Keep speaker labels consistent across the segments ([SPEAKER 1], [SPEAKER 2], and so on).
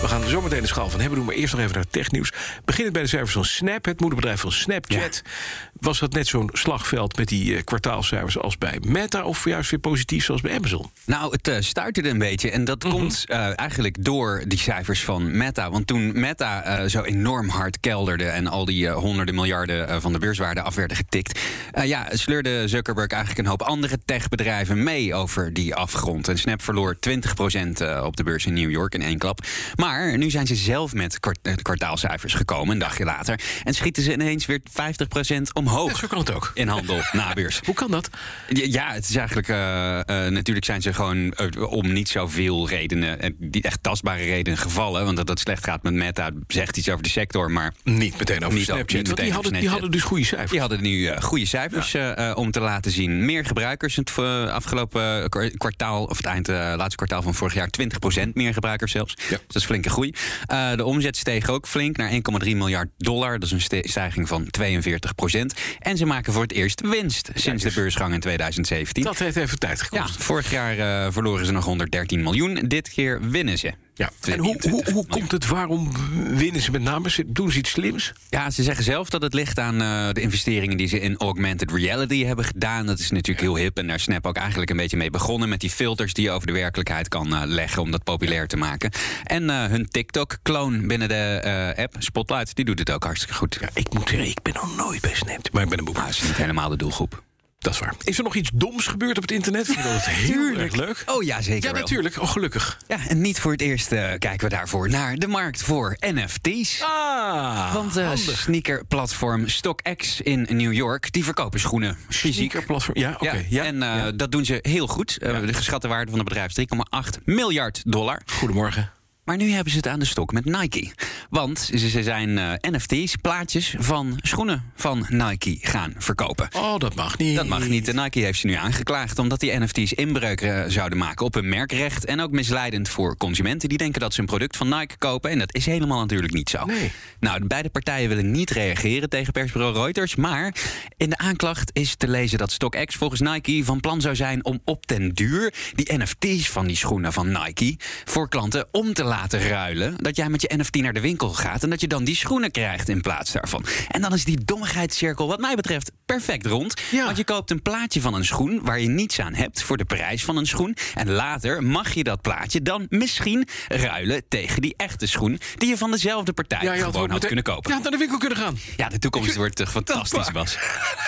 [SPEAKER 1] We gaan zo meteen de schaal van hebben doen, maar eerst nog even naar het technieuws. Beginnend bij de cijfers van Snap, het moederbedrijf van Snapchat. Was dat net zo'n slagveld met die eh, kwartaalcijfers als bij Meta... of juist weer positief zoals bij Amazon?
[SPEAKER 2] Nou, het eh, stuiterde een beetje. En dat komt eh, eigenlijk door die cijfers van Meta. Want toen Meta eh, zo enorm hard kelderde... en al die eh, honderden miljarden eh, van de beurswaarde af werden getikt... eh, ja, sleurde Zuckerberg eigenlijk een hoop andere techbedrijven mee over die afgrond. En Snap verloor 20% eh, op de beurs in New York in één klap. Maar nu zijn ze zelf met kwart- eh, kwartaalcijfers gekomen, een dagje later... en schieten ze ineens weer 50%
[SPEAKER 1] Ja,
[SPEAKER 2] omhoog
[SPEAKER 1] zo kan het ook.
[SPEAKER 2] in handel na beurs.
[SPEAKER 1] Hoe kan dat?
[SPEAKER 2] Ja, Ja, het is eigenlijk. eh, eh, natuurlijk zijn ze gewoon eh, om niet zoveel redenen. eh, die echt tastbare redenen gevallen. Want dat het slecht gaat met Meta zegt iets over de sector. Maar
[SPEAKER 1] Niet meteen over
[SPEAKER 2] Niet
[SPEAKER 1] Snapchat.
[SPEAKER 2] over-
[SPEAKER 1] want
[SPEAKER 2] niet
[SPEAKER 1] die
[SPEAKER 2] meteen
[SPEAKER 1] hadden,
[SPEAKER 2] over
[SPEAKER 1] die hadden dus goede cijfers.
[SPEAKER 2] die hadden nu eh, goede cijfers eh, eh, om te laten zien. Meer gebruikers het eh, afgelopen kwa- kwartaal, of het eind, eh, laatste kwartaal van vorig jaar, 20% meer gebruikers zelfs.
[SPEAKER 1] Ja.
[SPEAKER 2] Dus dat is flinke groei. Eh, de omzet steeg ook flink naar 1,3 miljard dollar. Dat is een ste- stijging van 42%. En ze maken voor het eerst winst sinds de beursgang in 2017.
[SPEAKER 1] Dat heeft even tijd gekost.
[SPEAKER 2] Ja, vorig jaar eh, verloren ze nog 113 miljoen. Dit keer winnen ze.
[SPEAKER 1] Ja. En hoe, hoe,
[SPEAKER 2] 22
[SPEAKER 1] hoe
[SPEAKER 2] miljoen.
[SPEAKER 1] komt het? Waarom winnen ze met name? Ze- Doen ze iets slims?
[SPEAKER 2] Ja, ze zeggen zelf dat het ligt aan eh, de investeringen die ze in augmented reality hebben gedaan. Dat is natuurlijk heel hip en daar Snap ook eigenlijk een beetje mee begonnen. Met die filters die je over de werkelijkheid kan eh, leggen om dat populair te maken. En eh, hun TikTok-kloon binnen de eh, app Spotlight, die doet het ook hartstikke goed.
[SPEAKER 1] Ja, ik moet zeggen, ik ben nog nooit bij Snap. Maar ik ben een boek.
[SPEAKER 2] Nou, dat is niet helemaal de doelgroep.
[SPEAKER 1] Dat is waar. Is er nog iets doms gebeurd op het internet? Vind je dat heel erg leuk?
[SPEAKER 2] Oh ja, zeker
[SPEAKER 1] Ja,
[SPEAKER 2] wel.
[SPEAKER 1] natuurlijk. Oh, gelukkig.
[SPEAKER 2] Ja, en niet voor het eerst eh, kijken we daarvoor naar de markt voor NFT's.
[SPEAKER 1] Ah,
[SPEAKER 2] Want eh
[SPEAKER 1] handig.
[SPEAKER 2] sneakerplatform StockX in New York, die verkopen schoenen fysiek.
[SPEAKER 1] Sneakerplatform. Ja, oké.
[SPEAKER 2] Ja,
[SPEAKER 1] ja.
[SPEAKER 2] en eh, dat doen ze heel goed. Eh, De geschatte waarde van het bedrijf is 3,8 miljard dollar.
[SPEAKER 1] Goedemorgen.
[SPEAKER 2] Maar nu hebben ze het aan de stok met Nike. Want ze, ze zijn eh, NFT's, plaatjes van schoenen van Nike gaan verkopen.
[SPEAKER 1] Oh, dat mag niet.
[SPEAKER 2] Dat mag niet. En Nike heeft ze nu aangeklaagd omdat die NFT's inbreuk eh, zouden maken op hun merkrecht. En ook misleidend voor consumenten die denken dat ze een product van Nike kopen. En dat is helemaal natuurlijk niet zo.
[SPEAKER 1] Nee.
[SPEAKER 2] Nou, de beide partijen willen niet reageren tegen persbureau Reuters. Maar in de aanklacht is te lezen dat StockX volgens Nike van plan zou zijn om op den duur die NFT's van die schoenen van Nike voor klanten om te laten ruilen. Dat jij met je NFT naar de winkel gaat en dat je dan die schoenen krijgt in plaats daarvan. En dan is die dommigheidscirkel, wat mij betreft, perfect rond.
[SPEAKER 1] Ja.
[SPEAKER 2] Want je koopt een plaatje van een schoen waar je niets aan hebt voor de prijs van een schoen. En later mag je dat plaatje dan misschien ruilen tegen die echte schoen die je van dezelfde partij
[SPEAKER 1] je
[SPEAKER 2] gewoon
[SPEAKER 1] ook
[SPEAKER 2] had
[SPEAKER 1] meteen-
[SPEAKER 2] kunnen kopen.
[SPEAKER 1] Je
[SPEAKER 2] Ja,
[SPEAKER 1] had naar de winkel kunnen gaan.
[SPEAKER 2] de toekomst wordt eh, fantastisch, Bas.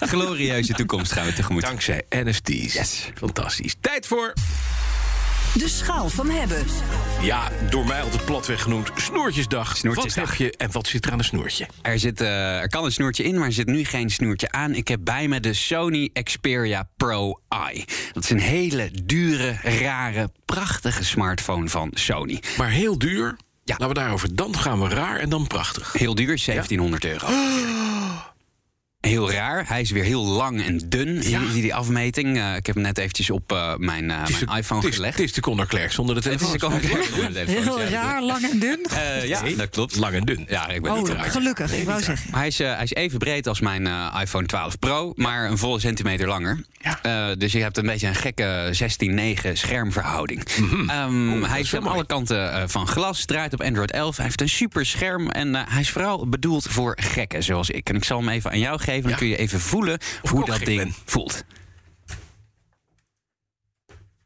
[SPEAKER 2] Glorieuze toekomst gaan we tegemoet.
[SPEAKER 1] Dankzij NFT's. Fantastisch. Tijd voor,
[SPEAKER 3] De schaal van hebben.
[SPEAKER 1] ja, door mij altijd platweg genoemd, Snoertjesdag.
[SPEAKER 2] Snoertjesdag.
[SPEAKER 1] Wat heb je en wat zit er aan een snoertje?
[SPEAKER 2] Er, zit, eh, er kan een snoertje in, maar er zit nu geen snoertje aan. Ik heb bij me de Sony Xperia Pro i. Dat is een hele dure, rare, prachtige smartphone van Sony.
[SPEAKER 1] Maar heel duur.
[SPEAKER 2] Ja.
[SPEAKER 1] Laten we daarover. Dan gaan we raar en dan prachtig.
[SPEAKER 2] Heel duur, 1700 euro. Heel raar. Hij is weer heel lang en dun. Zie je die afmeting? Eh, ik heb hem net eventjes op eh, mijn, eh, mijn iPhone
[SPEAKER 1] het is,
[SPEAKER 2] gelegd.
[SPEAKER 1] Het is de Conor Clerk zonder de
[SPEAKER 2] Het is
[SPEAKER 1] telefoon.
[SPEAKER 2] de komende
[SPEAKER 4] Heel raar, lang en dun.
[SPEAKER 2] Eh, ja, dat klopt.
[SPEAKER 1] Lang en dun.
[SPEAKER 2] Ja, ik ben niet
[SPEAKER 4] Oh,
[SPEAKER 2] raar.
[SPEAKER 4] gelukkig, ik wou zeggen.
[SPEAKER 2] Maar hij is, eh, hij is even breed als mijn eh, iPhone 12 Pro, maar een volle centimeter langer. Eh, dus je hebt een beetje een gekke 16-9 schermverhouding.
[SPEAKER 1] Mhm.
[SPEAKER 2] Ehm, hij is aan alle kanten eh, van glas, draait op Android 11. Hij heeft een super scherm en eh, hij is vooral bedoeld voor gekken zoals ik. En ik zal hem even aan jou geven, dan
[SPEAKER 1] Ja.
[SPEAKER 2] kun je even voelen hoe
[SPEAKER 1] ook
[SPEAKER 2] dat
[SPEAKER 1] gek
[SPEAKER 2] ding
[SPEAKER 1] ben.
[SPEAKER 2] voelt.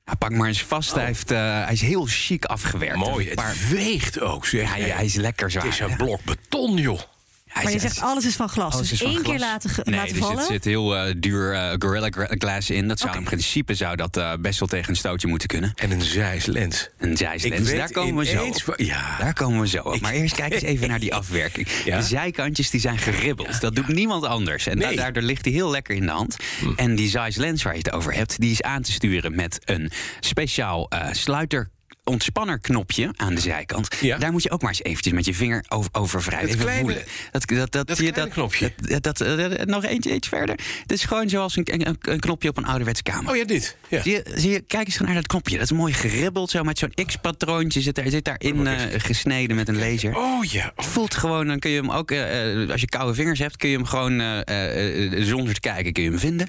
[SPEAKER 2] Ja, pak maar eens vast. Hij, heeft, eh, hij is heel chic afgewerkt.
[SPEAKER 1] Oh. Mooi.
[SPEAKER 2] Een paar-
[SPEAKER 1] Het weegt ook, zeg.
[SPEAKER 2] hij,
[SPEAKER 1] Nee,
[SPEAKER 2] hij is lekker zwaar.
[SPEAKER 1] het is
[SPEAKER 2] ja.
[SPEAKER 1] een blok beton, joh.
[SPEAKER 2] Hij
[SPEAKER 4] Maar je
[SPEAKER 2] is-
[SPEAKER 4] zegt alles is van glas.
[SPEAKER 2] Alles
[SPEAKER 4] Dus
[SPEAKER 2] Oh, is van
[SPEAKER 4] één keer
[SPEAKER 2] glas.
[SPEAKER 4] laten, ge-
[SPEAKER 2] nee,
[SPEAKER 4] laten
[SPEAKER 2] dus
[SPEAKER 4] vallen.
[SPEAKER 2] Er zit heel eh, duur eh, Gorilla Gra- Glass in. Dat zou in principe zou dat, eh, best wel tegen een stootje moeten kunnen.
[SPEAKER 1] En een zijslens.
[SPEAKER 2] Een
[SPEAKER 1] Ik
[SPEAKER 2] zijslens,
[SPEAKER 1] weet
[SPEAKER 2] daar komen we zo
[SPEAKER 1] ineens
[SPEAKER 2] op.
[SPEAKER 1] wa- ja.
[SPEAKER 2] Daar komen we zo op. Maar eerst kijk eens even naar die afwerking.
[SPEAKER 1] Ja?
[SPEAKER 2] De zijkantjes die zijn geribbeld. Dat doet niemand anders. En da-
[SPEAKER 1] Nee. Hm.
[SPEAKER 2] daardoor ligt hij heel lekker in de hand. En die zijslens waar je het over hebt... die is aan te sturen met een speciaal eh, sluiterknopje ontspannerknopje aan de zijkant.
[SPEAKER 1] Ja.
[SPEAKER 2] Daar moet je ook maar eens eventjes met je vinger over, over vrij.
[SPEAKER 1] Dat
[SPEAKER 2] Even
[SPEAKER 1] kleine-
[SPEAKER 2] voelen. Dat, dat, dat,
[SPEAKER 1] dat
[SPEAKER 2] je-
[SPEAKER 1] kleine knopje.
[SPEAKER 2] Dat, dat, eh, nog eentje, eentje verder. Het is gewoon zoals een, een, een knopje op een ouderwetse kamer.
[SPEAKER 1] Oh ja, dit. Ja.
[SPEAKER 2] Zie je, zie je, kijk eens gewoon naar dat knopje. Dat is mooi geribbeld, zo met zo'n X-patroontje. Zit, daar- zit daarin eh, gesneden met een laser.
[SPEAKER 1] Oh ja. Oh,
[SPEAKER 2] Voelt gewoon, dan kun je hem ook, eh, eh, als je koude vingers hebt, kun je hem gewoon eh, eh, eh, zonder te kijken, kun je hem vinden.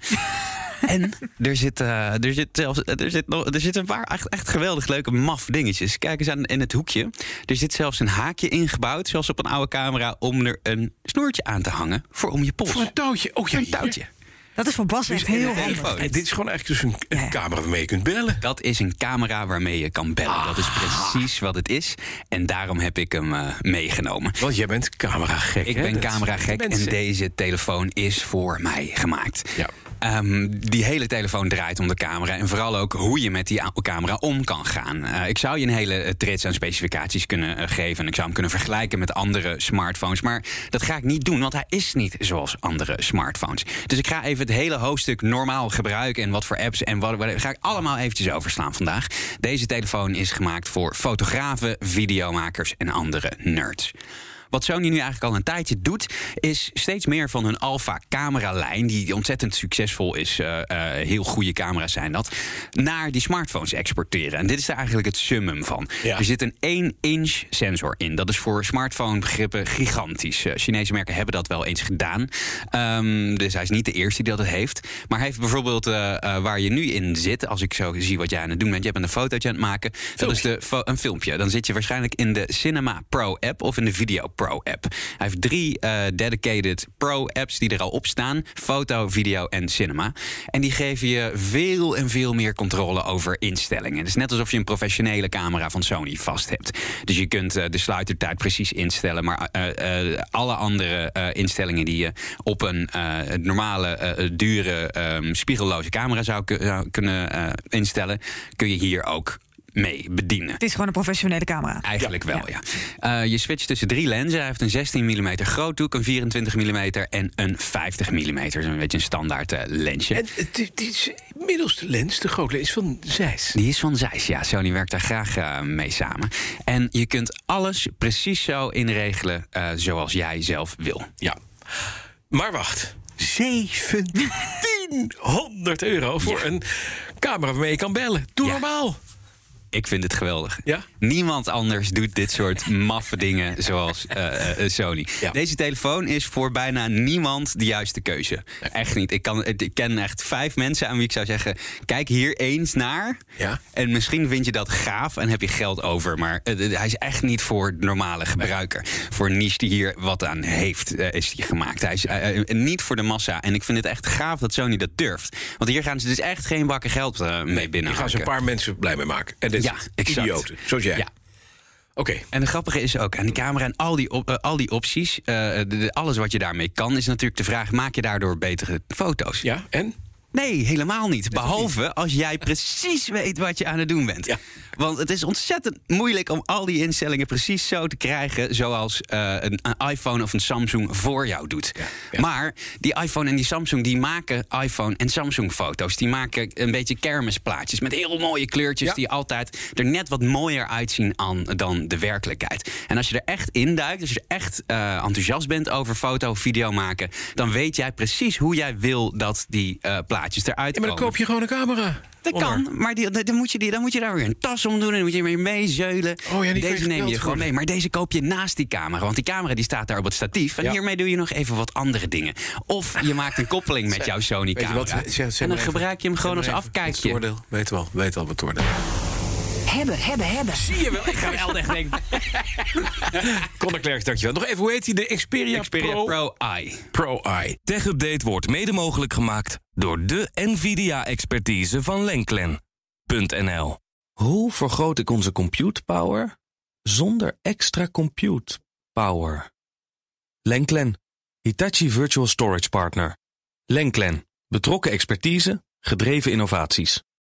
[SPEAKER 2] en er zit, eh, er zit zelfs, er zit nog, er zit een paar echt, echt geweldig leuke maf dingetjes. Kijk eens aan in het hoekje. Er zit zelfs een haakje ingebouwd, zelfs op een oude camera, om er een snoertje aan te hangen voor om je pols.
[SPEAKER 1] voor een touwtje. Oh ja,
[SPEAKER 2] Een
[SPEAKER 1] hier.
[SPEAKER 2] touwtje.
[SPEAKER 4] Dat is voor Bas echt heel handig.
[SPEAKER 2] telefoon.
[SPEAKER 1] En dit is gewoon eigenlijk dus een, een
[SPEAKER 4] Ja.
[SPEAKER 1] camera waarmee je kunt bellen.
[SPEAKER 2] Dat is een camera waarmee je kan bellen. Dat is precies wat het is. En daarom heb ik hem eh, meegenomen.
[SPEAKER 1] Want jij bent camera gek.
[SPEAKER 2] Ik ben camera gek en
[SPEAKER 1] deze.
[SPEAKER 2] deze telefoon is voor mij gemaakt.
[SPEAKER 1] Ja.
[SPEAKER 2] Ehm, die hele telefoon draait om de camera. En vooral ook hoe je met die a- camera om kan gaan. Eh, ik zou je een hele eh, trits aan specificaties kunnen eh, geven. En ik zou hem kunnen vergelijken met andere smartphones. Maar dat ga ik niet doen, want hij is niet zoals andere smartphones. Dus ik ga even het hele hoofdstuk normaal gebruiken. En wat voor apps en wat, wat ga ik allemaal eventjes overslaan vandaag. Deze telefoon is gemaakt voor fotografen, videomakers en andere nerds. Wat Sony nu eigenlijk al een tijdje doet, is steeds meer van hun Alpha-cameralijn, die ontzettend succesvol is, eh, eh, heel goede camera's zijn dat, naar die smartphones exporteren. En dit is daar eigenlijk het summum van.
[SPEAKER 1] Ja.
[SPEAKER 2] Er zit een 1-inch sensor in. Dat is voor smartphone-begrippen gigantisch. Eh, Chinese merken hebben dat wel eens gedaan. Ehm, dus hij is niet de eerste die dat heeft. Maar hij heeft bijvoorbeeld eh, eh, waar je nu in zit, als ik zo zie wat jij aan het doen bent, je bent een fotootje aan het maken. Dat is de fo- een filmpje. Dan zit je waarschijnlijk in de Cinema Pro app of in de Video Pro app. Hij heeft drie eh, dedicated Pro apps die er al op staan: foto, video en cinema. En die geven je veel en veel meer controle over instellingen. Het is net alsof je een professionele camera van Sony vast hebt. Dus je kunt eh, de sluitertijd precies instellen, maar eh, eh, alle andere eh, instellingen die je op een eh, normale, eh, dure, ehm, spiegelloze camera zou, ku- zou kunnen eh, instellen, kun je hier ook mee bedienen.
[SPEAKER 4] Het is gewoon een professionele camera.
[SPEAKER 2] Eigenlijk wel, ja. Eh, je switcht tussen drie lenzen. Hij heeft een 16 mm groothoek, een 24 mm en een 50 mm. Een beetje een standaard eh, lensje.
[SPEAKER 1] En het, dit is middelste lens, de grote lens van Zeiss.
[SPEAKER 2] Die is van Zeiss, ja. Sony werkt daar graag eh, mee samen. En je kunt alles precies zo inregelen eh, zoals jij zelf wil.
[SPEAKER 1] Ja. Maar wacht. 1700 euro voor een camera waarmee je kan bellen. Doe
[SPEAKER 2] Ja.
[SPEAKER 1] normaal.
[SPEAKER 2] Ik vind het geweldig.
[SPEAKER 1] Ja?
[SPEAKER 2] Niemand anders doet dit soort maffe dingen zoals eh, eh, Sony.
[SPEAKER 1] Ja.
[SPEAKER 2] Deze telefoon is voor bijna niemand de juiste keuze. Echt niet. Ik, kan, ik ken echt vijf mensen aan wie ik zou zeggen... kijk hier eens naar.
[SPEAKER 1] Ja.
[SPEAKER 2] En misschien vind je dat gaaf en heb je geld over. Maar eh, eh, hij is echt niet voor de normale gebruiker. Voor een niche die hier wat aan heeft, eh, is die gemaakt. Hij is eh, eh, niet voor de massa. En ik vind het echt gaaf dat Sony dat durft. Want hier gaan ze dus echt geen bakken geld eh, mee binnen.
[SPEAKER 1] Daar gaan ze een paar mensen blij mee maken. En dit
[SPEAKER 2] Ja, exact.
[SPEAKER 1] idioten, zoals jij.
[SPEAKER 2] Ja.
[SPEAKER 1] Oké.
[SPEAKER 2] En het grappige is ook, aan die camera en al die, op- eh, al die opties, eh, de- de- alles wat je daarmee kan, is natuurlijk de vraag: maak je daardoor betere foto's?
[SPEAKER 1] Ja, en?
[SPEAKER 2] Nee, helemaal niet. Behalve als jij precies weet wat je aan het doen bent.
[SPEAKER 1] Ja.
[SPEAKER 2] Want het is ontzettend moeilijk om al die instellingen precies zo te krijgen. zoals eh, een, een iPhone of een Samsung voor jou doet.
[SPEAKER 1] ja.
[SPEAKER 2] Maar die iPhone en die Samsung die maken iPhone en Samsung foto's. Die maken een beetje kermisplaatjes met heel mooie kleurtjes.
[SPEAKER 1] Ja.
[SPEAKER 2] die altijd er net wat mooier uitzien aan, dan de werkelijkheid. En als je er echt induikt, als je er echt eh, enthousiast bent over foto, video maken. dan weet jij precies hoe jij wil dat die eh, plaatjes eruit
[SPEAKER 1] Ja, maar dan
[SPEAKER 2] komen.
[SPEAKER 1] koop je gewoon een camera.
[SPEAKER 2] Oh. Dat
[SPEAKER 1] Onder.
[SPEAKER 2] kan, maar die, dan, moet je die, dan moet je daar weer een tas om doen en dan moet je weer mee zeulen.
[SPEAKER 1] Oh ja, die kan je
[SPEAKER 2] deze neem
[SPEAKER 1] gebeld
[SPEAKER 2] je gewoon
[SPEAKER 1] worden.
[SPEAKER 2] mee, maar deze koop je naast die camera. Want die camera die staat daar op het statief. En
[SPEAKER 1] Ja.
[SPEAKER 2] hiermee doe je nog even wat andere dingen. Of je maakt een koppeling met jouw
[SPEAKER 1] Weet je wat?
[SPEAKER 2] Sony-camera.
[SPEAKER 1] Zeg- zeg
[SPEAKER 2] En
[SPEAKER 1] maar
[SPEAKER 2] dan
[SPEAKER 1] even-
[SPEAKER 2] gebruik je hem
[SPEAKER 1] zeg
[SPEAKER 2] gewoon
[SPEAKER 1] maar
[SPEAKER 2] als
[SPEAKER 1] even. Het
[SPEAKER 2] afkijkje.
[SPEAKER 1] oordeel. Weet wel, weet al wat oordeel.
[SPEAKER 3] Hebben, hebben, hebben.
[SPEAKER 1] Zie je wel, ik ga
[SPEAKER 2] Geweldig, denk ik.
[SPEAKER 1] Conor Klerks, dankjewel. Nog even, hoe heet hij? De Xperia,
[SPEAKER 2] Xperia
[SPEAKER 1] Pro,
[SPEAKER 2] Pro Eye.
[SPEAKER 1] Pro Eye.
[SPEAKER 5] TechUpdate wordt mede mogelijk gemaakt door de NVIDIA-expertise van Lenklen.nl. Hoe vergroot ik onze compute power zonder extra compute power? Lenklen, Hitachi Virtual Storage Partner. Lenklen, betrokken expertise, gedreven innovaties.